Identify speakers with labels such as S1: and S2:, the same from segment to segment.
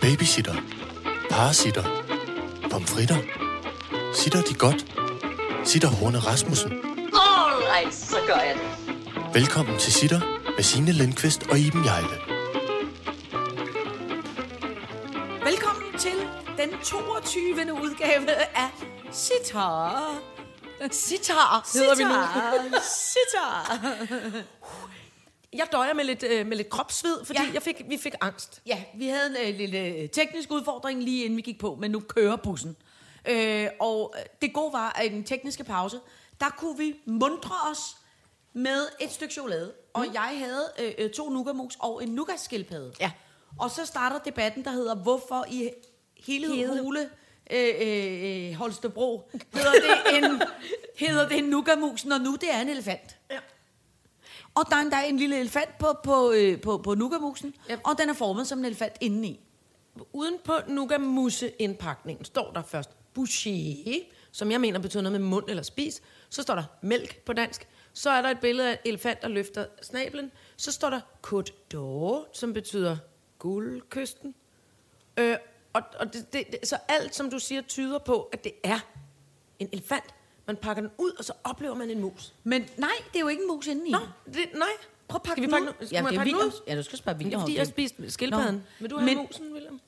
S1: Babysitter. Parasitter. Pomfritter. Sitter de godt? Sitter Horne Rasmussen.
S2: Alright, så gør jeg det.
S1: Velkommen til Sitter med Signe Lindqvist og Iben Jejle.
S3: Velkommen til den 22. udgave af Sitar.
S4: Sitar hedder vi nu. Sitar. Jeg døjer med lidt, øh, med lidt kropsved, fordi
S3: Ja.
S4: ja. jeg fik, vi fik angst.
S3: Ja, vi havde en øh, lille øh, teknisk udfordring lige inden vi gik på, men nu kører bussen. Øh, og øh, det gode var, at i den tekniske pause, der kunne vi mundre os med et stykke chokolade. Og jeg havde øh, øh, to nougatmus og en nougatskildpadde.
S4: Mm. Ja.
S3: Og så starter debatten, der hedder, hvorfor i hele
S4: Hede.
S3: hule øh, øh, øh, Holstebro hedder det en, hedder det en nougatmus, når nu det er en elefant.
S4: Ja.
S3: Og der er endda en lille elefant på, på, øh, på, på nougatmusen, yep. og den er formet som en elefant indeni.
S4: Uden på nougatmousse-indpakningen står der først bouché, som jeg mener betyder noget med mund eller spis. Så står der mælk på dansk. Så er der et billede af en elefant, der løfter snablen. Så står der Côte d'Or, som betyder guldkysten. Øh, og, og det, det, det, så alt, som du siger, tyder på, at det er en elefant. Man pakker den ud, og så oplever man en mus.
S3: Men nej, det er jo ikke en mus indeni.
S4: Nå, det, nej. Prøv at pakke
S3: vi
S4: den
S3: pakke
S4: ud.
S3: den-
S4: Skal man
S3: det er
S4: pakke den
S3: Williams.
S4: ud?
S3: Ja, du skal spørge
S4: Det er
S3: William
S4: fordi,
S3: om
S4: jeg
S3: det.
S4: spiste skildpadden.
S3: Nå.
S4: Vil du have
S3: Men-
S4: men, musen, William?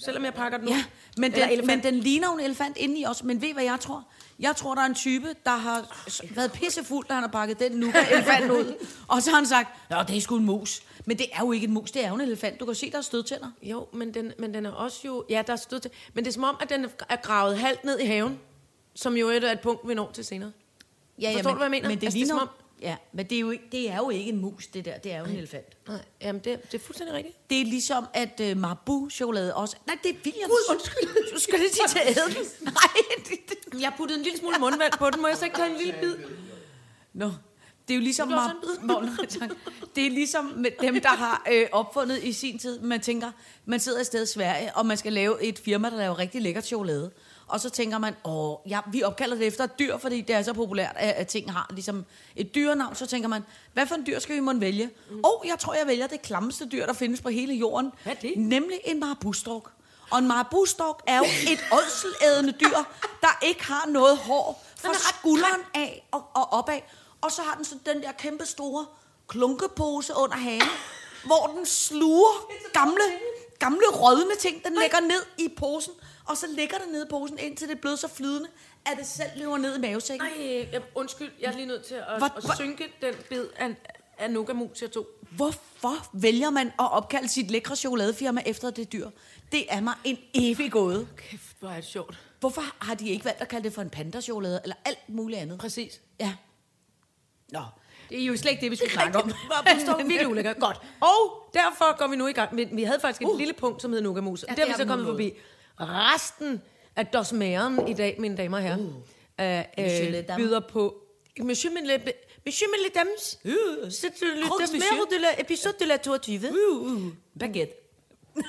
S4: Selvom jeg pakker den ud.
S3: Ja, men
S4: Eller
S3: den, men
S4: elefant.
S3: den ligner jo en elefant indeni også. Men ved I, hvad jeg tror? Jeg tror, der er en type, der har s- været pissefuld, da han har pakket den nougat-elefant ud. Og så har han sagt, Nå, det er sgu en mus. Men det er jo ikke en mus, det er jo en elefant. Du kan se, der er stødtænder.
S4: Jo, men den, men den er også jo... Ja, der er stød til. Men det er som om, at den er gravet halvt ned i haven. Som jo er et, er et punkt, vi når til senere.
S3: Ja,
S4: Forstår du, hvad jeg mener?
S3: Men det,
S4: Altså, det er
S3: ligner,
S4: som
S3: ja, men det er, jo ikke, det er jo ikke en mus, det der. Det er jo en elefant.
S4: Nej, jamen det, det er fuldstændig rigtigt.
S3: Det er ligesom, at øh, Marabu-chokolade også... Nej, det er Williams.
S4: Gud, undskyld.
S3: Du skal lige til at æde den. Nej, det, det.
S4: Jeg puttede en lille smule mundvand på den. Må jeg så ikke tage en lille bid?
S3: Nå. Det er jo ligesom,
S4: Det blev også
S3: Mar-
S4: en bid.
S3: Nå, nej, tak. det er ligesom med dem, der har øh, opfundet i sin tid. Man tænker, man sidder et sted i Sverige, og man skal lave et firma, der laver rigtig lækker chokolade. Og så tænker man, åh, ja, vi opkalder det efter et dyr, fordi det er så populært, at, at ting har ligesom et dyrenavn. Så tænker man, hvad for en dyr skal vi måtte vælge? Åh, mm. oh, jeg tror, jeg vælger det klammeste dyr, der findes på hele jorden.
S4: Hvad er det?
S3: Nemlig en marabustruk. Og en marabustok er jo et ådselædende dyr, der ikke har noget hår
S4: Den
S3: fra
S4: er ret
S3: skulderen af og, og opad. Og så har den sådan den der kæmpe store klunkepose under hagen, hvor den sluger gamle, gamle rådne ting. Den lægger ned i posen, og så ligger den ned i posen, indtil det er blevet så flydende, at det selv løber ned i mavesækken.
S4: Nej, jeg, undskyld. Jeg er lige nødt til at,
S3: Hvor- hvor-
S4: at synke den bid af, af nougatmus, jeg tog.
S3: Hvorfor vælger man at opkalde sit lækre chokoladefirma efter det dyr? Det er mig en evig gåde.
S4: Kæft, hvor er det sjovt.
S3: Hvorfor har de ikke valgt at kalde det for en pandachokolade, eller alt muligt andet?
S4: Præcis.
S3: Ja. Nå, det er jo slet ikke det, vi skulle snakke om.
S4: Opstår virkelig ulækkert. Godt. Og derfor går vi nu i gang. Vi, vi havde faktisk uh. et lille punkt, som hed Nugamus. Ja, det er vi
S3: det
S4: så
S3: har vi
S4: kommet forbi. Resten af dosmæren i dag, mine damer og herrer,
S3: Monsieur
S4: uh.
S3: le
S4: Uh, uh,
S3: dame.
S4: byder på... Monsieur Mille Monsieur Mille Dames,
S3: Uh.
S4: c'est le
S3: Grand monsieur.
S4: dosmère de la épisode de la 22.
S3: Uh, uh, baguette. det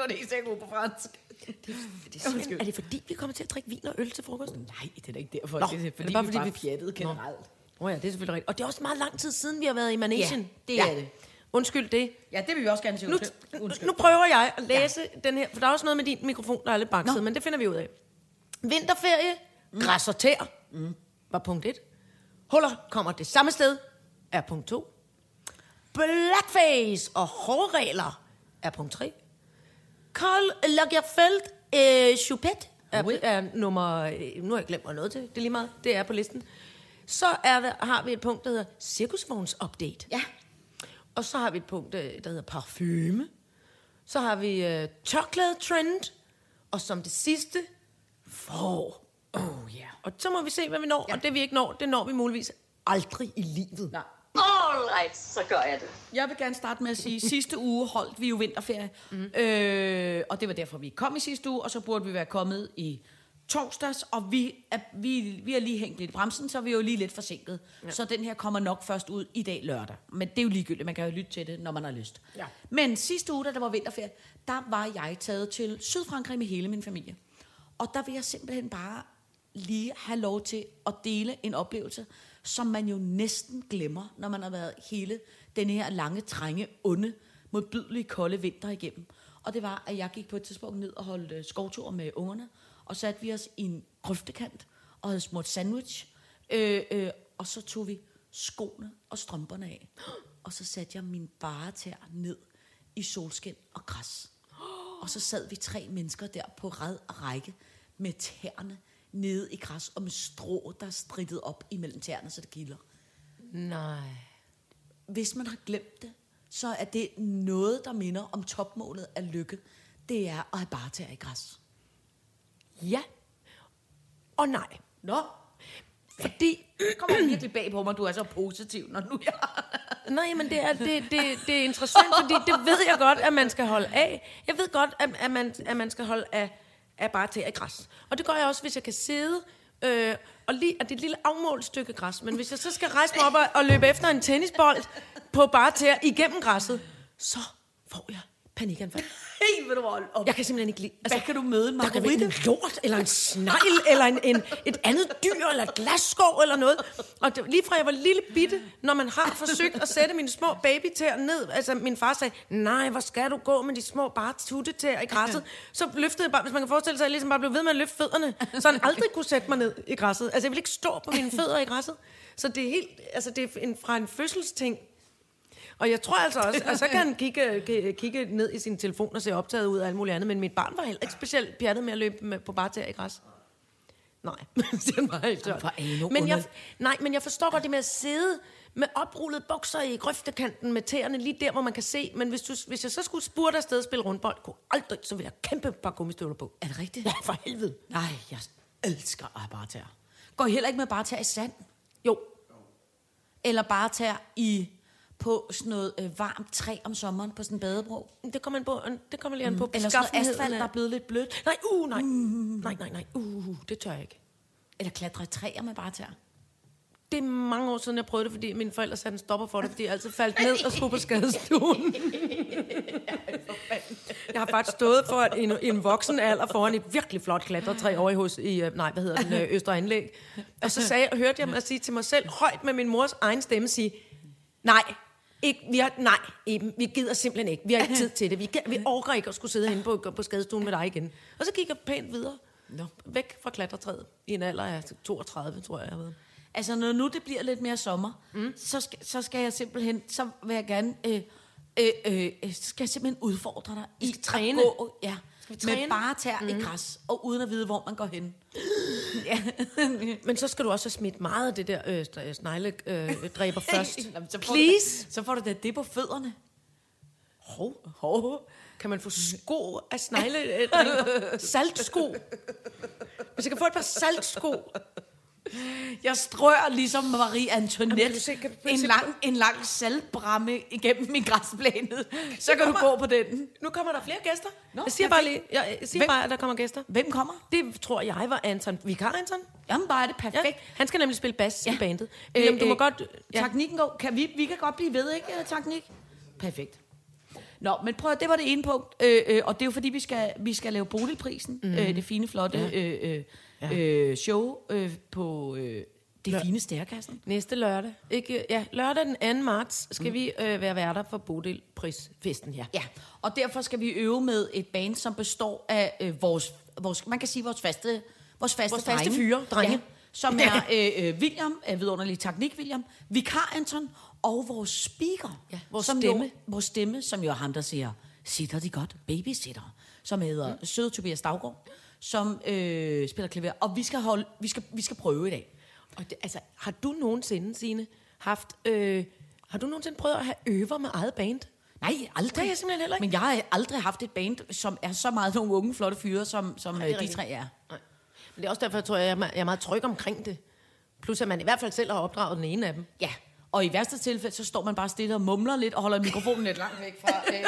S3: var det ikke sikkert på fransk.
S4: Er det, simpelthen- er det fordi, vi kommer til at drikke vin og øl til frokost?
S3: Nej, det er da ikke derfor.
S4: Nå,
S3: Nå, det er, fordi,
S4: bare
S3: vi
S4: fordi,
S3: bare
S4: vi-
S3: pjattede
S4: Nå.
S3: generelt.
S4: Åh oh ja, det er selvfølgelig rigtigt. Og det er også meget lang tid siden, vi har været i Manesien.
S3: Ja, det er det.
S4: Undskyld det.
S3: Ja, det vil vi også gerne se.
S4: Nu,
S3: Undskyld.
S4: nu,
S3: Undskyld.
S4: nu prøver jeg at læse ja. den her, for der er også noget med din mikrofon, der er lidt bakset,
S3: Nå.
S4: men det finder vi ud af. Vinterferie, mm. græs og tæer, mm. var punkt 1. Huller kommer det samme sted, er punkt 2. Blackface og hårregler, er punkt 3. Karl Lagerfeld øh, Choupet, er, er nummer... øh, Nu har jeg glemt mig noget til, det er lige meget, det er på listen. Så er der, har vi et punkt, der hedder Cirkusvogns-update.
S3: Ja.
S4: Og så har vi et punkt, øh, der hedder parfume. Så har vi øh, chocolate trend. Og som det sidste, får. Oh, yeah. Og så må vi se, hvad vi når. Ja. Og det vi ikke når, det når vi muligvis aldrig i livet.
S3: Nej.
S2: Alright, så gør jeg det.
S3: Jeg vil gerne starte med at sige, at sidste uge holdt vi jo vinterferie. Mm. Øh, og det var derfor, vi kom i sidste uge, og så burde vi være kommet i torsdags. Og vi er, vi, vi er lige hængt lidt i bremsen, så vi er jo lige lidt forsinket. Ja. Så den her kommer nok først ud i dag lørdag. Men det er jo ligegyldigt, man kan jo lytte til det, når man har lyst.
S4: Ja.
S3: Men sidste uge, da der var vinterferie, der var jeg taget til Sydfrankrig med hele min familie. Og der vil jeg simpelthen bare lige have lov til at dele en oplevelse, som man jo næsten glemmer, når man har været hele den her lange, trænge, onde, modbydelige kolde vinter igennem. Og det var, at jeg gik på et tidspunkt ned og holdt øh, skovtur med ungerne, og satte vi os i en grøftekant og havde smurt sandwich. Øh, øh, og så tog vi skoene og strømperne af, og så satte jeg min bare tær ned i solskin og græs. Og så sad vi tre mennesker der på ræd og række med tæerne nede i græs og med strå, der er strittet op imellem tæerne, så det gilder.
S4: Nej.
S3: Hvis man har glemt det, så er det noget, der minder om topmålet af lykke. Det er at have bare tæer i græs.
S4: Ja. Og nej.
S3: Nå,
S4: Fordi
S3: kommer jeg virkelig bag på mig, du er så positiv, når nu jeg...
S4: Nej, men det er, det, det, det er interessant, fordi det ved jeg godt, at man skal holde af. Jeg ved godt, at, at, man, at man skal holde af, af bare tæer i græs. Og det gør jeg også, hvis jeg kan sidde øh, og, lige, og det er et lille afmålt stykke græs. Men hvis jeg så skal rejse mig op og, og løbe efter en tennisbold på bare tæer igennem græsset, så får jeg panikanfald.
S3: Hey, ved du hvor... Og
S4: Jeg kan simpelthen ikke lide... Altså,
S3: Hvad Altså, kan du møde en
S4: der kan være
S3: margarita?
S4: en lort, eller en snegl, eller en, en, et andet dyr, eller et glasskov, eller noget. Og det, lige fra jeg var lille bitte, når man har forsøgt at sætte mine små babytæer ned, altså min far sagde, nej, hvor skal du gå med de små bare tuttetæer i græsset? Så løftede jeg bare, hvis man kan forestille sig, at jeg ligesom bare blev ved med at løfte fødderne, så han aldrig kunne sætte mig ned i græsset. Altså jeg ville ikke stå på mine fødder i græsset. Så det er helt, altså det er en, fra en fødselsting, og jeg tror altså også, og så kan han kigge, ki- kigge ned i sin telefon og se optaget ud af alt muligt andet, men mit barn var heller ikke specielt pjattet med at løbe med, på bare tæer i græs. Nej, det er meget helt tørt.
S3: hvor er I nu
S4: Men jeg,
S3: underlig.
S4: nej, men jeg forstår godt det med at sidde med oprullede bukser i grøftekanten med tæerne lige der, hvor man kan se. Men hvis, du, hvis jeg så skulle spurte afsted og spille rundbold, kunne aldrig, så ville jeg kæmpe et par gummistøvler på.
S3: Er det rigtigt?
S4: Ja, for helvede.
S3: Nej, jeg elsker at have bare tæer. Går I heller ikke med bare tæer i sand?
S4: Jo,
S3: Eller bare tæer i på sådan noget øh, varmt træ om sommeren på sådan en badebro?
S4: det kommer an på, det kommer lige an på. Mm.
S3: Eller sådan noget asfalt, der er blevet lidt blødt? Mm.
S4: Nej, uh, nej. Nej, nej, nej. Uh, det tør jeg ikke.
S3: Eller klatre i træer med bare tæer?
S4: Det er mange år siden, jeg prøvede det, fordi mine forældre satte en stopper for det, fordi jeg altid faldt ned og skulle på skadestuen. jeg har faktisk stået for en, en voksen alder foran et virkelig flot klatretræ over i, hos, i øh, nej, hvad hedder den, øh, Østre Anlæg. Og så sagde, hørte jeg mig sige til mig selv højt med min mors egen stemme, sige, nej, ikke, vi har, nej, Eben, vi gider simpelthen ikke. Vi har ikke tid til det. Vi, gider, vi orker ikke at skulle sidde henne på, på skadestuen med dig igen. Og så gik jeg pænt videre.
S3: Nå.
S4: Væk fra klatretræet i en alder af 32, tror jeg, jeg ved.
S3: Altså, når nu det bliver lidt mere sommer, mm. så, skal, så skal jeg simpelthen, så vil jeg gerne, øh, øh, øh, øh, så skal jeg simpelthen udfordre dig i
S4: skal træne.
S3: at gå, ja,
S4: Skal vi
S3: med
S4: træne?
S3: bare tær mm. i græs, og uden at vide, hvor man går hen.
S4: Men så skal du også have smidt meget af det der øh, sne- snegledræber øh, dræber først.
S3: Jamen, så får
S4: Please.
S3: Du, da- så får du da det på fødderne.
S4: Hov, hov. Kan man få sko af snegledræber? Saltsko. Hvis jeg kan få et par saltsko.
S3: Jeg strør ligesom Marie Antoinette
S4: Jamen, kan du se- kan du
S3: en,
S4: se-
S3: lang, en lang saltbramme igennem min græsplæne. Så kan du
S4: kommer-
S3: gå på den.
S4: Nu kommer der flere gæster.
S3: Nå,
S4: Nå, jeg siger bare lige, jeg, jeg siger
S3: Hvem-
S4: bare, at der kommer gæster.
S3: Hvem kommer?
S4: Det tror jeg var Anton. Vikar Anton?
S3: Jamen, bare er det
S4: Ja.
S3: perfekt.
S4: Han skal nemlig spille bas ja. Øhm, i bandet.
S3: Øh,
S4: William, du må
S3: øh,
S4: godt...
S3: Ja. Teknikken går. Kan vi, vi kan godt blive ved, ikke? øh, Teknik. Perfekt. Nå, men prøv at, det var det ene punkt. Øh, øh, og det er jo fordi, vi skal, vi skal lave boligprisen. Mm. Øh, det fine, flotte ja. øh, øh, øh, show øh, på øh, det fine stærkassen.
S4: Næste lørdag. Ikke, ja, lørdag den 2. marts skal mm. vi øh, være værter for Bodil Prisfesten, ja.
S3: Ja, og derfor skal vi øve med et band, som består af øh, vores, vores, man kan sige vores faste, vores faste,
S4: Vores faste
S3: drenge.
S4: fyre, drenge.
S3: Ja, som er øh, øh, William, øh, vidunderlig teknik William, vikar Anton og vores speaker.
S4: Ja, vores
S3: som Jo,
S4: stemme.
S3: vores stemme, som jo er ham, der siger, sitter de godt, babysitter, som hedder mm. Søde Tobias Daggaard, som øh, spiller klaver. Og vi skal, holde, vi, skal, vi skal prøve i dag.
S4: Og det, altså, har du nogensinde, Signe, haft... Øh, har du nogensinde prøvet at have øver med eget band?
S3: Nej, aldrig.
S4: Det har jeg simpelthen heller ikke.
S3: Men jeg har aldrig haft et band, som er så meget nogle unge, flotte fyre, som, som Nej,
S4: det er
S3: de
S4: rigtigt.
S3: tre er.
S4: Nej. Men det er også derfor, jeg tror, jeg er, me- jeg er meget tryg omkring det. Plus, at man i hvert fald selv har opdraget den ene af dem.
S3: Ja, og i værste tilfælde, så står man bare stille og mumler lidt, og holder mikrofonen lidt langt væk fra øh,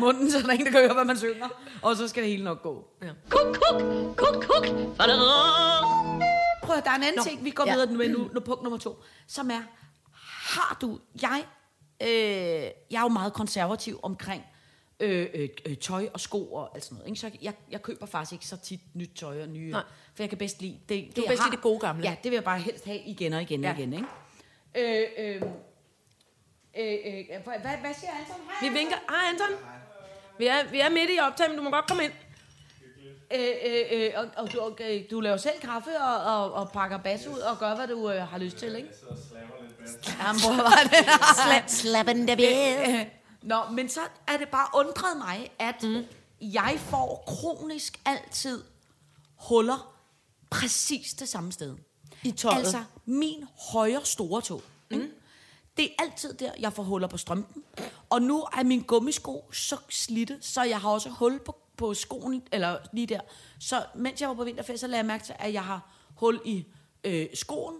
S3: munden, så der er ingen, der kan høre, hvad man synger. Og så skal det hele nok gå.
S2: Kuk, kuk, kuk, kuk. Fadadadad.
S3: Prøv at, der er en anden Nå, ting, vi går ja.
S4: ja.
S3: videre med nu, nu, punkt nummer to, som er, har du, jeg, øh, jeg er jo meget konservativ omkring øh, øh, øh, tøj og sko og alt sådan noget. Ikke? Så jeg, jeg køber faktisk ikke så tit nyt tøj og nye, Nej.
S4: Nej.
S3: for jeg kan bedst lide det, det
S4: bedst
S3: jeg
S4: lide
S3: har.
S4: det gode gamle.
S3: Ja, det vil jeg bare helst have igen og igen ja. og
S4: Ja.
S3: igen. Ikke? Øh, øh, øhm, Øh, øh, hvad, hvad siger Anton? Hej,
S4: Vi vinker. Hej, Anton. Vi er, vi er midt i optagen, men du må godt komme ind.
S3: Øh, øh, øh, og, og, du, og øh, du laver selv kaffe og, og, og pakker bas ud og gør, hvad du øh, har lyst til, ikke? Jeg sidder og slapper lidt
S5: Slap, slappen der ved.
S3: Øh, Nå, men så er det bare undret mig, at mm. jeg får kronisk altid huller præcis det samme sted.
S4: I tøjet.
S3: Altså min højre store tog. Mm. Det er altid der, jeg får huller på strømpen. Og nu er min gummisko så slidte, så jeg har også hul på, på skoen, eller lige der. Så mens jeg var på vinterfest, så lagde jeg mærke til, at jeg har hul i øh, skoen,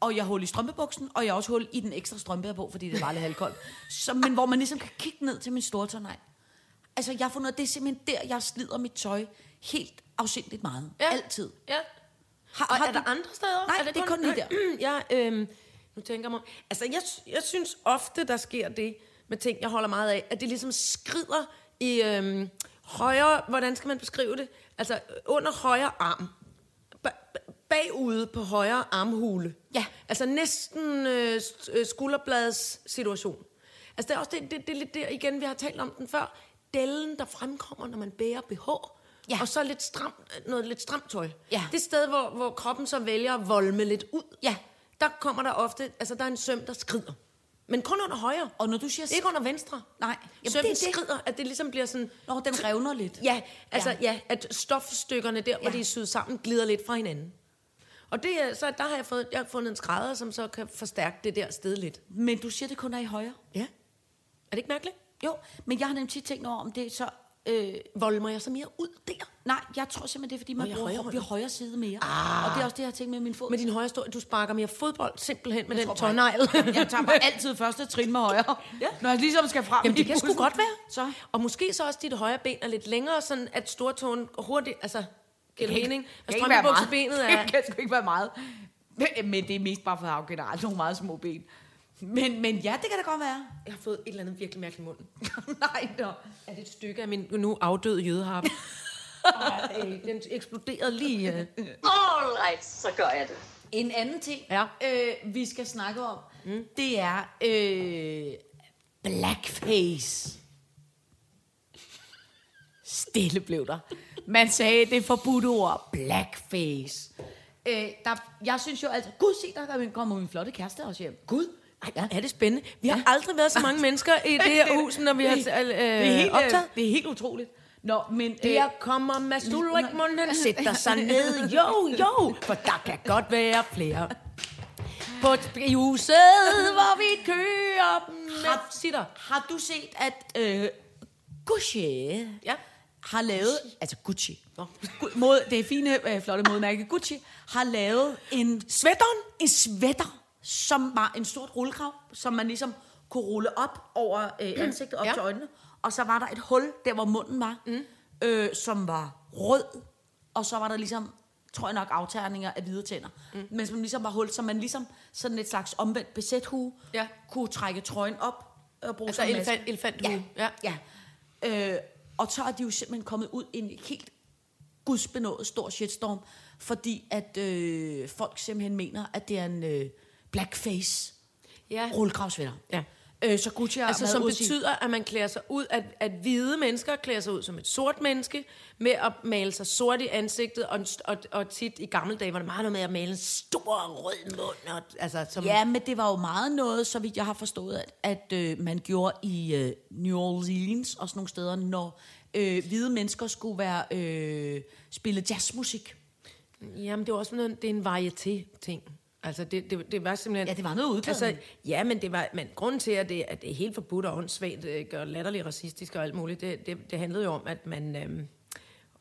S3: og jeg har hul i strømpebuksen, og jeg har også hul i den ekstra strømpe, jeg har på, fordi det var lidt halvkoldt. Så, men hvor man ligesom kan kigge ned til min store tornej. Altså, jeg har fundet, ud af, det er simpelthen der, jeg slider mit tøj helt afsindigt meget. Ja. Altid.
S4: Ja.
S3: Har,
S4: Og
S3: har
S4: er
S3: du-
S4: der andre steder?
S3: Nej,
S4: er
S3: det er kun lige
S4: Jeg, øhm, nu tænker jeg mig... om- Altså, jeg, sy- jeg synes ofte, der sker det med ting, jeg holder meget af, at det ligesom skrider i øhm, højre... Hvordan skal man beskrive det? Altså, under højre arm. Ba- ba- bagude på højre armhule.
S3: Ja.
S4: Altså næsten øh, s- øh, skulderbladets situation. Altså, det er også det, det, det, er lidt der igen, vi har talt om den før. Dellen, der fremkommer, når man bærer BH.
S3: Ja.
S4: Og så lidt stram, noget lidt stramt tøj.
S3: Ja.
S4: Det sted, hvor, hvor kroppen så vælger at volme lidt ud,
S3: Ja.
S4: der kommer der ofte, altså der er en søm, der skrider. Men kun under højre.
S3: Og når du siger...
S4: Ikke under venstre.
S3: Nej, jamen, det
S4: Sømmen
S3: er
S4: det,
S3: det.
S4: skrider, at det ligesom bliver sådan...
S3: Nå, den revner lidt.
S4: Ja, altså ja, ja at stofstykkerne der, hvor
S3: Ja.
S4: de er syet sammen, glider lidt fra hinanden. Og det, er- så der har jeg, fået, jeg har fundet en skrædder, som så kan forstærke det der sted lidt.
S3: Men du siger, det kun er i højre.
S4: Ja. Er det ikke mærkeligt?
S3: Jo, men jeg har nemlig tit tænkt over, om det er så... Øh,
S4: Volmer jeg så mere ud der?
S3: nej, jeg tror simpelthen, det er, fordi man
S4: Nå, jeg er
S3: bruger højre,
S4: højrehåndet.
S3: vi højre side mere. Ah. Og det er også det, jeg har tænkt med min fod.
S4: Med din højre stol, du sparker mere fodbold simpelthen med den
S3: tror bare-
S4: tårnegl.
S3: jeg tager bare altid første trin med højre. Ja. Når jeg ligesom skal frem
S4: Jamen,
S3: i
S4: det kan sgu
S3: bussen.
S4: godt være.
S3: Så.
S4: Og måske så også dit højre ben er lidt længere, sådan at stortåen hurtigt, altså, giver det mening?
S3: Det
S4: Altså,
S3: kan ikke være meget.
S4: strømpebuksebenet er...
S3: Det kan sgu ikke være meget. Men, men det er mest bare for at have generelt nogle meget små ben. Men, men ja, det kan da godt være.
S4: Jeg har fået et eller andet virkelig mærkeligt i munden.
S3: nej, nå.
S4: Er det et stykke af min nu afdøde jødeharpe? Ej, den eksploderede lige. øh.
S2: All right, så gør jeg det.
S3: En anden ting,
S4: Ja.
S3: øh, vi skal snakke om, mm. det er øh, blackface. Stille blev der. Man sagde det forbudte ord, blackface. Øh, der, jeg synes jo altså, gud se, der kommer min flotte kæreste også hjem. Gud,
S4: Ej, ja. er det spændende. Vi har aldrig været så mange mennesker i det her hus, når vi har øh,
S3: det, det, er helt, øh,
S4: optaget.
S3: det er helt utroligt. Nå, men... øh,
S4: Der kommer Mads Ulrik Munden, sætter sig ned. Jo, jo, for der kan godt være flere. På t- i huset, hvor vi kører med sitter.
S3: Har du set, at øh, Gucci
S4: Ja.
S3: har lavet... Altså Gucci. Gu- Mod, det fine, øh, flotte modmærke Gucci har lavet en...
S4: Sweateren?
S3: En sweater, som var en stort rullekrav, som man ligesom kunne rulle op over øh, ansigtet, op ja.
S4: Ja.
S3: til øjnene. Og så var der et hul, der hvor munden var, mm. øh, som var rød. Og så var der ligesom, tror jeg nok, afterninger af hvide tænder. Mm. Men som ligesom var hul, så man ligesom sådan et slags omvendt besæthue
S4: Ja.
S3: kunne trække trøjen op øh, og bruge
S4: Altså
S3: som maske.
S4: elefant- elefanthue.
S3: Ja, ja. ja. Øh, og så er de jo simpelthen kommet ud i en helt gudsbenået stor shitstorm, fordi at øh, folk simpelthen mener, at det er en øh, blackface
S4: Ja.
S3: rullegravsvinder.
S4: Ja.
S3: Øh, så Gucci har
S4: Altså,
S3: været
S4: som
S3: ude at sige-
S4: betyder, at man klæder sig ud, at, at hvide mennesker klæder sig ud som et sort menneske, med at male sig sort i ansigtet, og, og, og tit i gamle dage var det meget noget med at male en stor rød mund, og, altså, som,
S3: Ja, men det var jo meget noget, så vidt jeg har forstået, at, at øh, man gjorde i øh, New Orleans og sådan nogle steder, når øh, hvide mennesker skulle være øh, spille jazzmusik.
S4: Jamen, det er også noget, det er en varieté-ting. Altså, det, det, det var simpelthen... Altså,
S3: Ja, det var noget udklædning.
S4: ja, men, det var, men grunden til, at det, at det er helt forbudt og åndssvagt, øh, gør latterligt racistisk og alt muligt, det, det, det handlede jo om, at man øhm,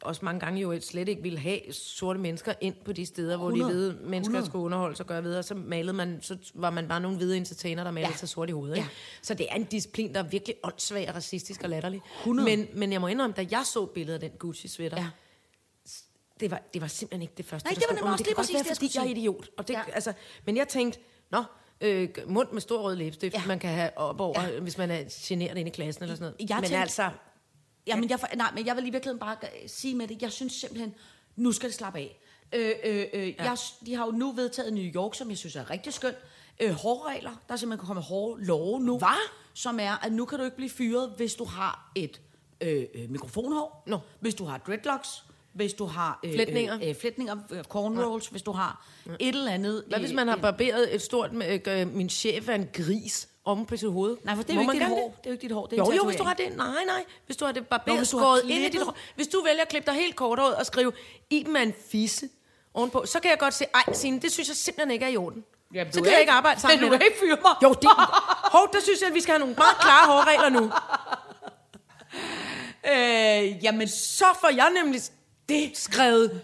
S4: også mange gange jo slet ikke ville have sorte mennesker ind på de steder, hvor
S3: 100.
S4: de hvide mennesker
S3: 100.
S4: skulle underholdes og gøre videre. Så malede man, så var man bare nogle hvide entertainer, der malede
S3: Ja.
S4: ja. sig sort i hovedet.
S3: Ja.
S4: Ja. Så det er en disciplin, der er virkelig åndssvag og racistisk og latterlig.
S3: 100.
S4: Men, men jeg må indrømme, da jeg så billedet af den Gucci-sweater,
S3: Ja.
S4: ja det var, det var simpelthen ikke det første,
S3: Nej,
S4: der
S3: det var
S4: stod.
S3: nemlig
S4: Åh,
S3: også
S4: det
S3: lige
S4: kan godt
S3: præcis
S4: være,
S3: det, jeg
S4: fordi
S3: skulle
S4: jeg er idiot. Og det,
S3: Ja.
S4: ja. altså, men jeg tænkte, nå, øh, mund med stor rød læbestift,
S3: Ja.
S4: ja. man kan have op over,
S3: Ja.
S4: ja. hvis man er generet inde i klassen eller sådan noget.
S3: Jeg
S4: men
S3: tænkte-
S4: altså,
S3: Jamen, jeg, for- nej, men jeg vil i virkeligheden bare g- sige med det, jeg synes simpelthen, nu skal det slappe af. Øh, øh, øh, ja. jeg, s- de har jo nu vedtaget New York, som jeg synes er rigtig skønt. øh, hårregler. Der er simpelthen kommet hårde love nu.
S4: Hva?
S3: Som er, at nu kan du ikke blive fyret, hvis du har et øh, øh, mikrofonhår.
S4: Nå.
S3: Hvis du har dreadlocks. Hvis du har... Øh,
S4: Flætninger.
S3: Øh, øh, flætninger, øh, cornrows. Hvis du har et eller andet...
S4: Hvad hvis
S3: øh,
S4: man har
S3: øh,
S4: barberet et stort... øh, øh, min chef er en gris om på sit hoved?
S3: Nej, for det er
S4: Må
S3: jo ikke
S4: man
S3: dit
S4: gerne
S3: hår. Det er jo ikke dit hår. Det er
S4: Jo,
S3: en
S4: jo, hvis du
S3: tatovering.
S4: har det. Nej, nej. Hvis du har det
S3: Nå,
S4: barberet
S3: hvis du har
S4: skåret ind i dit
S3: klippet.
S4: hår. Hvis du vælger at klippe dig helt kort og skrive, i med en fisse ovenpå, så kan jeg godt se, ej, Signe, det synes jeg simpelthen ikke er i orden.
S3: Jamen,
S4: så
S3: du
S4: kan
S3: er
S4: jeg ikke arbejde sammen
S3: Men
S4: med
S3: du kan
S4: dig.
S3: ikke fyre mig.
S4: Jo, det Hov, der synes jeg, at vi skal have nogle meget klare hårregler nu.
S3: Øh, jamen,
S4: Så får jeg nemlig det skrevet.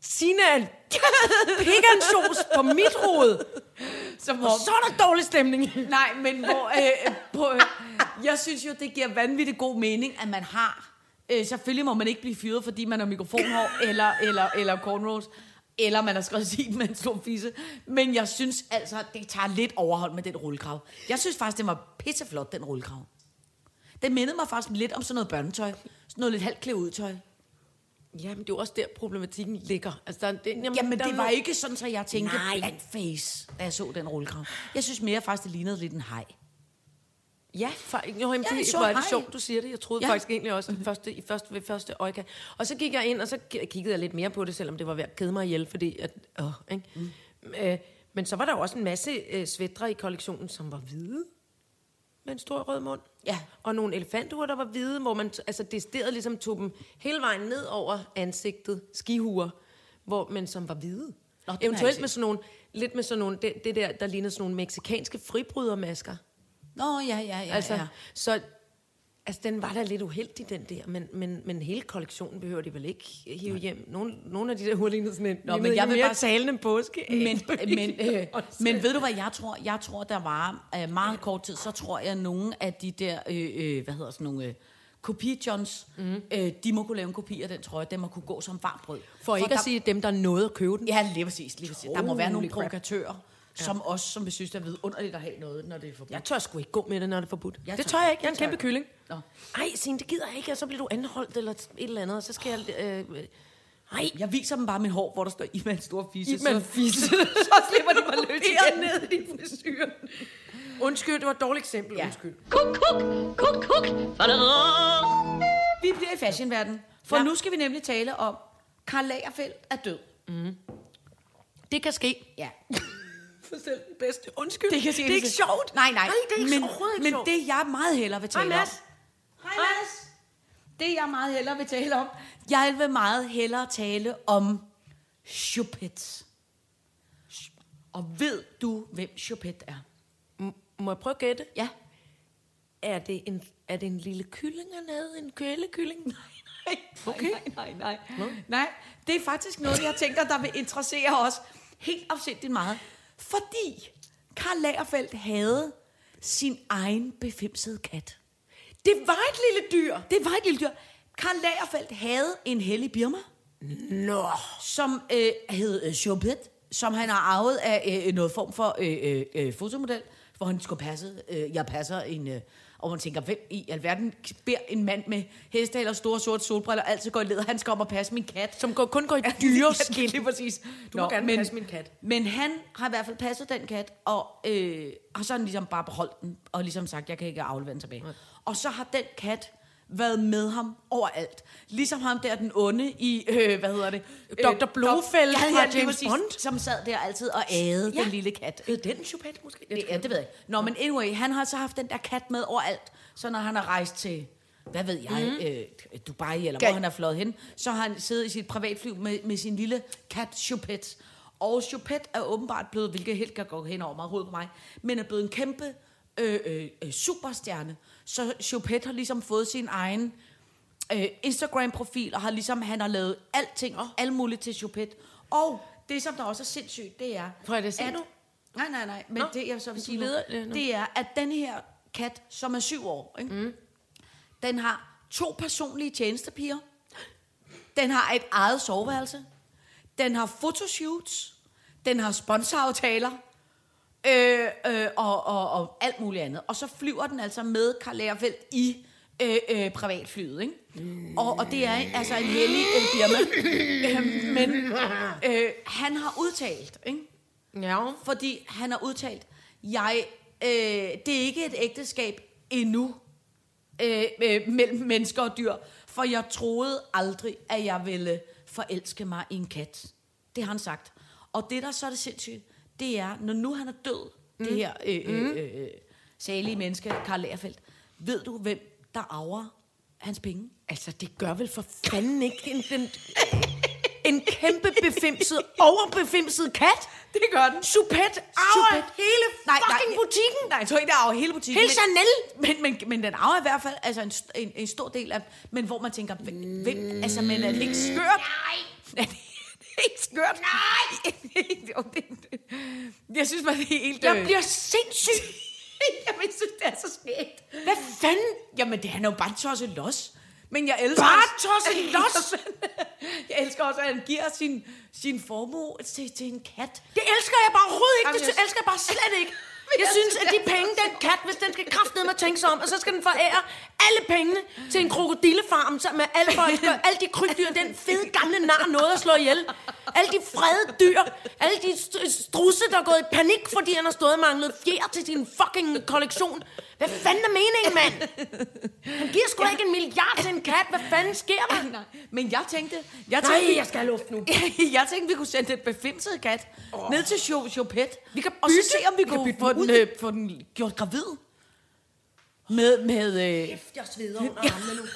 S4: Signe er en pikansjos på mit hoved.
S3: så må...
S4: Og så er der dårlig stemning.
S3: Nej, men hvor, øh, på, øh, jeg synes jo, det giver vanvittig god mening, at man har... Øh, selvfølgelig må man ikke blive fyret, fordi man har mikrofonhår eller, eller, eller cornrows, eller man har skrevet sig med en stor fisse. Men jeg synes altså, det tager lidt overhold med den rullekrav. Jeg synes faktisk, det var pisseflot, den rullekrav. Det mindede mig faktisk lidt om sådan noget børnetøj. Sådan noget lidt halvt klædt ud tøj.
S4: Jamen, det er jo også der, problematikken ligger. Altså, der, er- det, jamen,
S3: Jamen,
S4: der er
S3: det var
S4: noget-
S3: ikke sådan, så jeg tænkte
S4: Nej.
S3: blank face, da jeg så den rullekrav. Jeg synes mere faktisk, det lignede lidt en hej.
S4: Ja, for, jo, jamen,
S3: Ja,
S4: det,
S3: så
S4: hvor er det
S3: hej.
S4: sjovt, du siger det. Jeg
S3: Ja.
S4: troede
S3: Mhm.
S4: ja. faktisk egentlig også den første, i første, ved første øjekast. Og så gik jeg ind, og så ki- kiggede jeg lidt mere på det, selvom det var ved at kede mig ihjel, fordi... At, åh, ikke?
S3: Mhm.
S4: Mm. Øh, men så var der jo også en masse øh, svætre i kollektionen, som var hvide med en stor rød mund.
S3: Ja.
S4: Og nogle elefanthuer, der var hvide, hvor man t- altså, decideret ligesom tog dem hele vejen ned over ansigtet, skihuer, hvor, men som var
S3: Nå,
S4: hvide.
S3: den har jeg
S4: Eventuelt
S3: ikke
S4: med sådan nogle, lidt med sådan nogle, det, det der, der lignede sådan nogle meksikanske fribrydermasker.
S3: Nå, ja, ja, ja.
S4: Altså,
S3: ja.
S4: ja. så altså, den var da lidt uheldig, den der, men, men, men hele kollektionen behøver de vel ikke hive hjem. Nogle, nogle af de der hurtiglede sådan en, Nå,
S3: men jeg vil
S4: mere
S3: bare-
S4: talende påske.
S3: men, men, øh, men ved du hvad jeg tror? Jeg tror, der var øh, meget kort tid, så tror jeg, at nogle af de der, øh, øh, hvad hedder sådan nogle, øh, kopi-johns, mm. øh, de må kunne lave en kopi af den trøje, den må kunne gå som varmt brød.
S4: Mhm. For ikke
S3: der,
S4: at sige dem, der nåede at købe den.
S3: Ja, lige præcis, lige præcis. Der må være nogle
S4: Holy crap.
S3: provokatører, som os, som vi synes, det er vidunderligt at have noget, når det er forbudt.
S4: Jeg tør sgu ikke gå med det, når det er forbudt.
S3: Jeg
S4: det
S3: tør
S4: tør jeg
S3: ikke.
S4: ikke. Jeg er en
S3: Jeg
S4: kæmpe
S3: tør ikke.
S4: kylling.
S3: Nå.
S4: Ej, Signe, det gider jeg ikke, og så bliver du anholdt eller et eller andet, og så skal jeg...
S3: Ah.
S4: Øh, øh, ej,
S3: Jeg viser dem bare mit hår, hvor der står i med en stor fisse.
S4: Ib med en
S3: så-
S4: fisse.
S3: så slipper de mig løs igen.
S4: ned i din frisyr. Undskyld, det var et dårligt eksempel.
S3: Ja.
S4: Ja. Undskyld.
S2: Kuk, kuk, kuk, kuk, fadderok.
S3: Vi bliver i fashionverdenen, for ja.
S4: Ja.
S3: nu skal vi nemlig tale om, Karl Lagerfeldt er død.
S4: Mm. Det kan ske.
S3: Ja,
S4: For selv den bedste. Undskyld.
S3: Det, kan
S4: det er ikke sjovt.
S3: Nej, nej.
S4: nej det er ikke
S3: men,
S4: overhovedet ikke
S3: Men
S4: sjovt.
S3: det, jeg meget hellere vil
S4: Hej,
S3: tale
S4: Mads.
S3: om... Hej, Mads. Det, jeg meget hellere vil tale om... Jeg vil meget hellere tale om Chopet. Og ved du, hvem Chopet er?
S4: M- må jeg prøve at gætte?
S3: Ja.
S4: Er det en, er det en lille kylling hernede? En kølekylling? Nej, nej. Okay.
S3: Nej, nej, nej. Nej. nej, det er faktisk noget, jeg tænker, der vil interessere os helt afsindigt meget. Fordi Karl Lagerfeldt havde sin egen befimsede kat.
S4: Det var et lille dyr.
S3: Det var et lille dyr. Karl Lagerfeldt havde en hellig birma,
S4: Nå.
S3: som øh, hed øh, Chopet, som han har arvet af øh, noget form for øh, øh, øh, fotomodel, hvor han skulle passe. Øh, jeg passer en... Øh, og man tænker, hvem i alverden beder en mand med hestehale og store sorte solbriller altid går i leder, han skal om og passe min kat.
S4: Som går, kun går i
S3: Ja, det er
S4: dyreskind.
S3: lige præcis.
S4: Du må gerne passe min kat.
S3: Men han har i hvert fald passet den kat, og øh, har sådan ligesom bare beholdt den, og ligesom sagt, jeg kan ikke aflevere den tilbage. Og så har den kat været med ham overalt. Ligesom ham der, den onde i, øh, hvad hedder det?
S4: Dr. Blofeld
S3: Dok-
S4: fra
S3: lige
S4: James
S3: præcis,
S4: Bond.
S3: Som sad der altid og ædede ja. den lille kat.
S4: Hed den chopat måske? Jeg
S3: Det,
S4: tror-
S3: ja, det ved jeg ikke. Nå, men anyway, han har så haft den der kat med overalt. Så når han har rejst til, hvad ved jeg, mm. øh, Dubai, eller hvor
S4: Mhm. Gal-
S3: han er fløjet hen, så har han siddet i sit privatfly med, med sin lille kat Chopet. Og Chopet er åbenbart blevet, hvilket helt kan gå hen over mig, hovedet på mig, men er blevet en kæmpe øh, øh, øh, superstjerne. Så Chopet har ligesom fået sin egen øh, Instagram-profil, og har ligesom, han har lavet alting, oh. alt muligt til Chopet. Og det, som der også er sindssygt, det er...
S4: Prøv at det sige
S3: at-
S4: nu.
S3: Nej, nej, nej, men
S4: Nå,
S3: Nå, det, jeg så vil
S4: du
S3: sige
S4: leder-
S3: nu,
S4: øh, nå.
S3: det er, at den her kat, som er syv år, ikke? Mm. den har to personlige tjenestepiger, den har et eget soveværelse, den har fotoshoots, den har sponsoraftaler, øh, øh, og, og, og alt muligt andet. Og så flyver den altså med Karl Lagerfeldt i øh, øh, privatflyet, ikke? Og, og det er altså en Øhm, hellig øh, firma. Øh, men øh, han har udtalt, ikke?
S4: Ja.
S3: Fordi han har udtalt, jeg, øh, det er ikke et ægteskab endnu øh, øh, mellem mennesker og dyr, for jeg troede aldrig, at jeg ville forelske mig i en kat. Det har han sagt. Og det, der så er det sindssygt, det er, når nu han er død, mm. det her øh, øh, øh, salige menneske, Karl Lagerfeldt, ved du, hvem der arver hans penge?
S4: Altså, det gør vel for fanden ikke en, en, en kæmpe befimset, overbefimset kat?
S3: Det gør den.
S4: Supet arver
S3: Choupette.
S4: hele fucking butikken.
S3: Nej, jeg tror ikke, der arver hele butikken.
S4: Hele Chanel.
S3: Men, men, men den arver i hvert fald altså en, st- en, en stor del af... Men hvor man tænker, hvem...
S4: Mm.
S3: hvem- Altså, men er det ikke skørt? Nej! Er det ikke skørt? Nej! Jo, det- jeg synes bare, det er helt...
S4: Jeg
S3: øh,
S4: bliver sindssyg.
S3: Jamen, jeg synes, det er så skægt.
S4: Hvad fanden?
S3: Jamen, det, han er jo bare tosset los. Men jeg elsker...
S4: Bare
S3: også-
S4: tosset los?
S3: jeg elsker også, at han giver sin, sin formue til, til en kat.
S4: Det elsker jeg bare overhovedet ikke. Det
S3: Jamen, jeg-
S4: sy- elsker jeg bare slet ikke. Jeg synes, at de penge, den kat, hvis den skal kraftedeme med tænke sig om, og så skal den forære alle pengene til en krokodillefarm, så med alle, folk, alle de krybdyr, den fede gamle nar noget at slå ihjel. Alle de fredede dyr, alle de st- strusse, der er gået i panik, fordi han har stået og manglet fjer til sin fucking kollektion. Hvad fanden er meningen, mand? Han giver sgu da ikke en milliard til en kat. Hvad fanden sker der?
S3: Nej, men jeg tænkte... Jeg tænkte
S4: Nej, jeg skal have luft nu.
S3: jeg tænkte, vi kunne sende den befimsede kat oh. ned til Cho- Chopet. Vi
S4: kan
S3: og så
S4: bytte-
S3: se, om vi,
S4: vi kan
S3: kunne
S4: bytte
S3: få
S4: den
S3: den,
S4: ud.
S3: øh, få den gjort gravid. Med, med, øh,
S4: Kæft, jeg sveder under armene nu.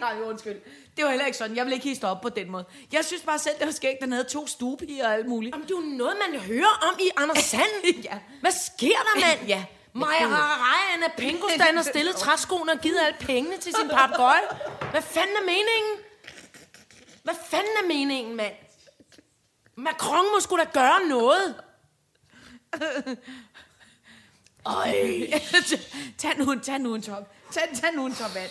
S3: nej, nej, undskyld. Det var heller ikke sådan. Jeg vil ikke hisse op på den måde. Jeg synes bare selv, det var skægt, den havde to stuepiger og alt muligt.
S4: Jamen, det er jo noget, man hører om i Anders Sand.
S3: Ja.
S4: Hvad sker der, mand?
S3: Ja.
S4: Maja Rarai, Anna Pinkus, der har stillet træskoene og givet alle pengene til sin papegøje. Hvad fanden er meningen? Hvad fanden er meningen, mand? Macron må skulle da gøre noget.
S3: tag, nu, en- tag nu en top. Tag, tag nu en top vand.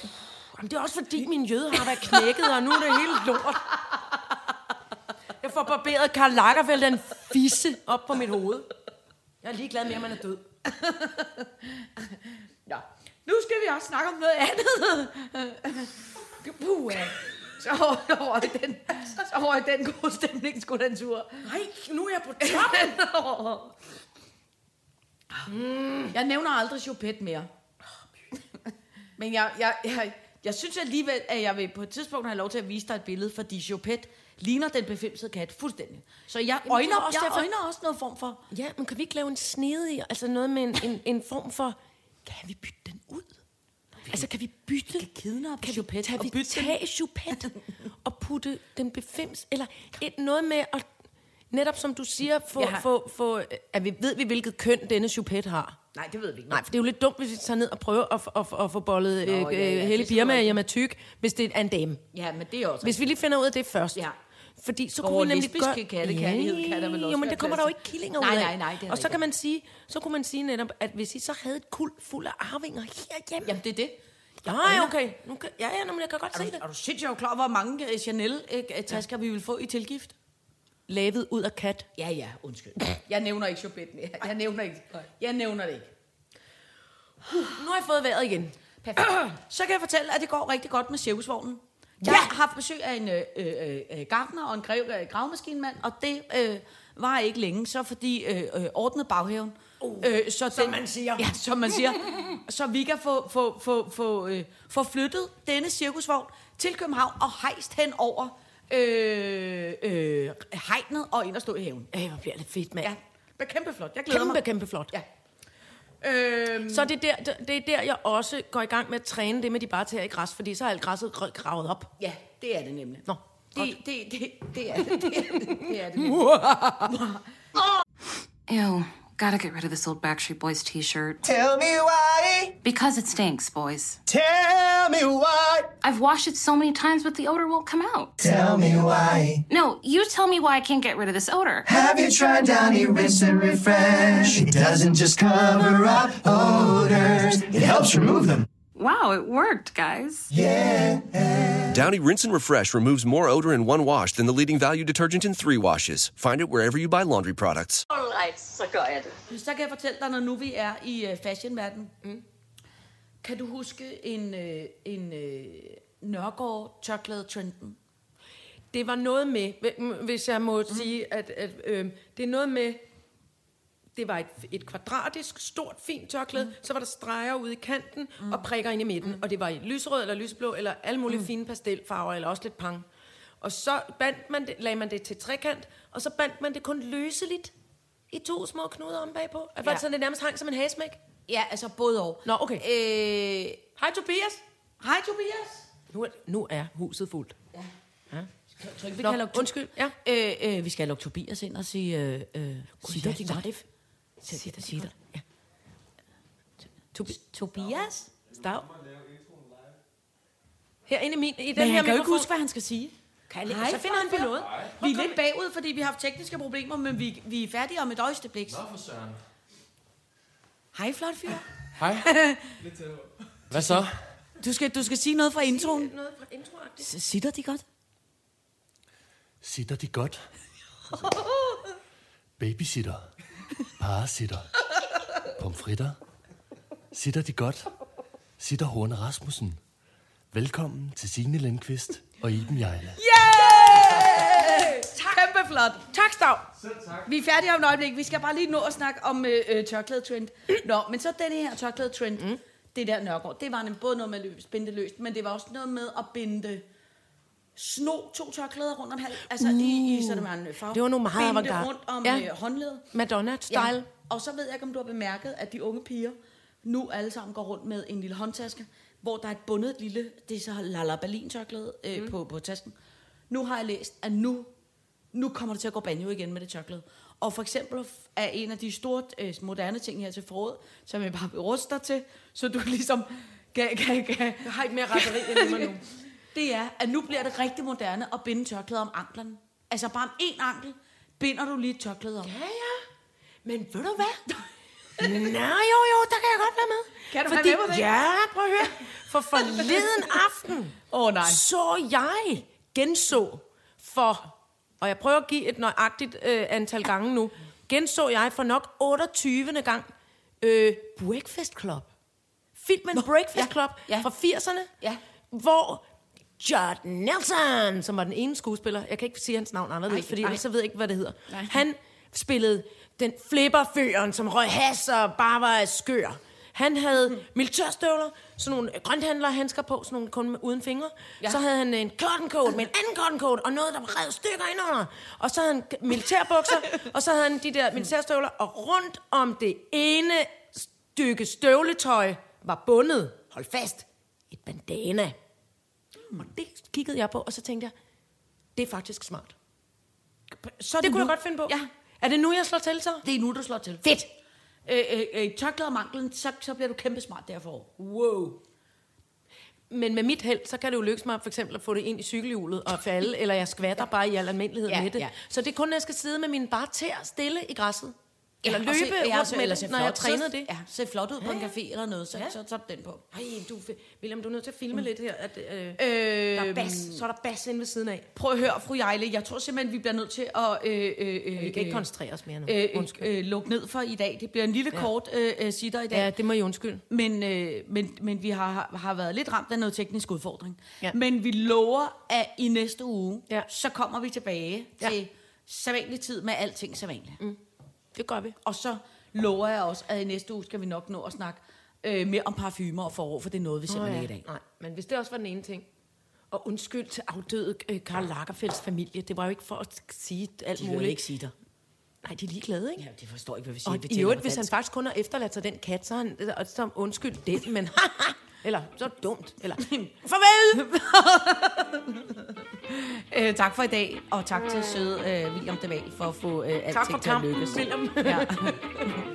S4: Jamen, det er også fordi, min jøde har været knækket, og nu er det hele lort. Jeg får barberet Karl Lagerfeldt en fisse op på mit hoved. Jeg er ligeglad med, at man er død.
S3: Nå. Nu skal vi også snakke om noget andet. Puh, ja. Så over- over i den, så over i den gode stemning skulle den tur.
S4: Nej, nu er jeg på top.
S3: Hmm. Jeg nævner aldrig Chopet mere. Men jeg, jeg, jeg, jeg synes alligevel, at jeg vil på et tidspunkt have lov til at vise dig et billede, fordi Chopet ligner den befimsede kat fuldstændig. Så jeg
S4: det er
S3: øjner,
S4: også
S3: også, jeg
S4: derfor-
S3: øjner også noget form for...
S4: Ja, men kan vi ikke lave en snedigere, altså noget med en, en, en form for, kan vi bytte den ud? Altså, kan vi bytte? Kan kidnappe kan vi, kan
S3: og
S4: vi
S3: bytte den?
S4: tage Choupette og putte den befims? Eller et, noget med at, netop som du siger, få,
S3: Ja.
S4: ja. få, få, at vi ved, vi, hvilket køn denne Choupette har.
S3: Nej, det ved vi ikke.
S4: Nej, for det er jo lidt dumt, hvis vi tager ned og prøver at, at, at, at få bollet Nå, øh,
S3: ja, ja,
S4: ja,
S3: det
S4: hele
S3: er
S4: Birma
S3: selvfølgelig.
S4: hjem af tyk, hvis det er en dame.
S3: Ja, men det er også...
S4: Hvis vi lige finder ud af det først.
S3: Ja.
S4: Fordi så
S3: Og
S4: kunne vi nemlig
S3: lesbiske
S4: gøre...
S3: katte kan- kan der vel også
S4: Jo, men
S3: være
S4: der kommer
S3: plads
S4: der jo
S3: til.
S4: ikke killinger
S3: Nej,
S4: ud af.
S3: nej, nej, det er
S4: Og så
S3: rigtigt.
S4: kan man sige, så kunne man sige netop, at hvis I så havde et kul fuld af arvinger herhjemme...
S3: Jamen, det er det.
S4: Ja, okay. Nu kan, ja, ja, nå, men jeg kan godt
S3: Er
S4: se det.
S3: du, er du sindssygt jo klar, over, hvor mange øh, Chanel-tasker vi vil få i tilgift?
S4: Lavet ud af kat.
S3: Ja, ja, undskyld. Jeg nævner ikke Chopet mere. Jeg nævner ikke. Jeg nævner det ikke.
S4: Nu har jeg fået vejret igen.
S3: Så kan jeg fortælle, at det går rigtig godt med cirkusvognen. Jeg
S4: Ja!
S3: har haft besøg af en øh, øh, øh, gartner og en grev, øh, gravmaskinmand, og det øh, var ikke længe, så fordi øh, øh, ordnede baghaven. Uh, øh, så som den, man siger. Ja, som man siger. så vi kan få, få, få, få, øh, få flyttet denne cirkusvogn til København og hejst hen over øh, øh, hegnet og ind og stå i haven.
S4: Ej, hvor bliver det fedt, mand.
S3: Ja, det er kæmpe flot. Jeg glæder
S4: Kæmpe,
S3: mig.
S4: kæmpe flot.
S3: Ja. Øhm,
S4: Så det er, der, det er der, jeg også går i gang med at træne det med de bare tager i græs, fordi så er alt græsset gra- gravet op.
S3: ja, det er det nemlig.
S4: Nå,
S3: Det, det, det, det er det. Det er det. det, er det.
S6: Ew, gotta get rid of this old Backstreet Boys t shirt.
S7: Tell me why.
S6: Because it stinks, boys.
S7: Tell me why.
S6: I've washed it so many times, but the odor won't come out.
S7: Tell me why.
S6: No, you tell me why I can't get rid of this odor.
S7: Have you tried Downy Rinse and Refresh? It doesn't just cover up odors, it helps remove them.
S6: Wow, it worked, guys.
S7: Yeah.
S8: Downy Rinse and Refresh removes more odor in one wash than the leading value detergent in three washes. Find it wherever you buy laundry products.
S2: Alright, så gør jeg det.
S3: Så kan jeg fortælle dig, når nu vi er i øh, fashionverdenen. Mm. Kan du huske en, øh, en øh, Nørgaard tørklæde trenden?
S4: Mm. øhm, Det var noget med, hv- m- hvis jeg må sige, at, at øh, det er noget med, det var et, et kvadratisk, stort, fint tørklæde, mm. så var der streger ude i kanten mm. og prikker ind i midten, mm. og det var i lyserød eller lysblå, eller alle mulige mm. fine pastelfarver, eller også lidt pang. Og så bandt man det, lagde man det til trekant, og så bandt man det kun løseligt i to små knuder om bagpå. Ja. Var
S3: Ja.
S4: det sådan, det nærmest hang som en hæsmæk?
S3: Ja, altså både og.
S4: Nå, okay.
S3: Øh,
S4: Hej Tobias!
S3: hej Tobias.
S4: Nu er, nu er huset fuldt.
S3: Tror ikke, vi
S4: Nå,
S3: kan lukke
S4: undskyld. Ja.
S3: Øh, øh, vi skal lukke Tobias ind og sige... Øh, øh, sig
S4: ja,
S3: dig, din
S4: tak.
S3: wife. Sig dig, sig dig. Ja. Tobi- Tobias?
S4: Stav. Herinde i, min, i den
S3: Men
S4: her
S3: han kan jo ikke
S4: mikrofon.
S3: huske, hvad han skal sige.
S4: Kan
S3: Nej,
S4: jeg, så finder han på noget.
S3: Vi er lidt bagud, fordi vi har haft tekniske problemer, men vi, vi er færdige om et øjeblik.
S9: Nå for søren.
S3: Hej, flot fyr.
S9: Hej. Hvad så?
S3: Du skal, du skal sige noget fra introen.
S4: Noget fra introagtigt.
S3: S- Sitter de godt?
S1: Sitter de godt? Babysitter. Parasitter. Pomfritter. Sitter de godt? Sitter Horne Rasmussen. Velkommen til Signe Lindqvist og Iben Jejle.
S3: Tak. Kæmpe flot.
S4: Tak, Stav.
S3: Vi er færdige om et øjeblik. Vi skal bare lige nå at snakke om øh, øh, tørklædetrend. Nå, men så den her tørklædetrend, mm. det der Nørgaard, det var nemlig både noget med at lø- binde det løst, men det var også noget med at binde sno to tørklæder rundt om halsen, altså uh, i, i sådan en farve.
S4: Det var nu meget
S3: Binde
S4: avantgarde.
S3: rundt om
S4: Ja.
S3: ja. øh, håndledet.
S4: Madonna-style. Ja.
S3: Og så ved jeg ikke, om du har bemærket, at de unge piger nu alle sammen går rundt med en lille håndtaske, hvor der er et bundet lille, det er så Lala Berlin tørklæde øh, mm. på, på tasken. Nu har jeg læst, at nu, nu kommer det til at gå banjo igen med det tørklæde. Og for eksempel f- er en af de store øh, moderne ting her til foråret, som jeg bare vil ruste dig til, så du ligesom kan, kan, kan,
S4: Jeg har ikke mere retteri end mig nu.
S3: det er, at nu bliver det rigtig moderne at binde tørklæder om anklerne. Altså bare om én ankel binder du lige et tørklæde om.
S4: Ja, ja. Men ved du hvad? Nej, jo, jo, der kan jeg godt være med.
S3: Kan du være
S4: Fordi,
S3: med på det?
S4: Ja, prøv at høre. For forleden aften
S3: Åh oh, nej.
S4: så jeg genså for, og jeg prøver at give et nøjagtigt øh, antal gange nu, genså jeg for nok 28. gang øh, Breakfast Club. Filmen Nå, Breakfast
S3: ja,
S4: Club
S3: ja.
S4: fra 80'erne,
S3: Ja.
S4: hvor Judd Nelson, som var den ene skuespiller, jeg kan ikke sige hans navn anderledes,
S3: Ej,
S4: fordi
S3: ej.
S4: ellers så ved jeg ikke, hvad det hedder. Nej. Han spillede den flipperføren, som røg has og bare var skør. Han havde hmm. militærstøvler, sådan nogle grønthandlerhandsker på, sådan nogle kun med- uden fingre. Ja. Så havde han en cotton coat med en anden cotton coat, og noget, der var revet stykker indenunder. Og så havde han k- militærbukser, og så havde han de der militærstøvler, og rundt om det ene stykke støvletøj var bundet, hold fast, et bandana. Mm. Og det kiggede jeg på, og så tænkte jeg, det er faktisk smart.
S3: Så er
S4: Det kunne
S3: nu.
S4: jeg godt finde på.
S3: Ja,
S4: Er det nu, jeg slår til så?
S3: det er nu, du slår til.
S4: Fedt.
S3: Øh, øh, øh, tørklæder og manglen, så, så bliver du kæmpe smart derfor.
S4: Wow. Men med mit held, så kan det jo lykkes mig for eksempel at få det ind i cykelhjulet og falde, eller jeg skvatter bare i al almindelighed
S3: Ja,
S4: med det.
S3: ja.
S4: Så det er kun, når jeg skal sidde med mine bare tæer stille i græsset. Eller løbe
S3: og se- ja,
S4: rundt
S3: så-
S4: med
S3: eller
S4: det,
S3: se
S4: når jeg
S3: flot-
S4: træner
S3: så-
S4: det.
S3: Ja, se flot ud på en café eller noget, så, ja. Øhm, så, så, er den på.
S4: Ej, du, William, du er nødt til at filme lidt her. At, øh, øh, der er
S3: Øh,
S4: bas, så er der bas inde ved siden af.
S3: prøv at høre, fru Jejle, jeg tror simpelthen, vi bliver nødt til at øh, øh, øh,
S4: Vi kan ikke
S3: øh,
S4: koncentrere os mere nu.
S3: øh, øh,
S4: Undskyld.
S3: øh, lukke ned for i dag. Det bliver en lille ja. kort øh, øh, sitter i dag.
S4: Ja, det må I undskylde.
S3: Men, øh, men, men vi har, har været lidt ramt af noget teknisk udfordring.
S4: Ja.
S3: Ja. Men vi lover, at i næste uge,
S4: Ja.
S3: ja. så kommer vi tilbage
S4: Ja.
S3: ja. til sædvanlig tid med alting sædvanligt. Mm.
S4: Det gør vi.
S3: Og så lover jeg også, at i næste uge skal vi nok nå at snakke øh, mere om parfumer og forår, for det er noget, vi simpelthen oh, ja. ikke i dag.
S4: Nej, men hvis det også var den ene ting. Og undskyld til afdøde øh, Karl Lagerfelds familie. Det var jo ikke for at sige alt
S3: De vil
S4: muligt.
S3: ikke sige dig.
S4: Nej, de er ligeglade, ikke?
S3: Ja, de forstår ikke, hvad vi siger.
S4: Og
S3: vi
S4: i
S3: taler
S4: øvrigt,
S3: på
S4: hvis han
S3: dansk.
S4: faktisk kun har efterladt sig den kat, så er han øh, som undskyld den, men haha, eller så dumt, eller farvel!
S3: Øh, tak for i dag, og tak til søde øh, William Deval for at få øh, alting til at lykkes.
S4: William.
S3: Ja.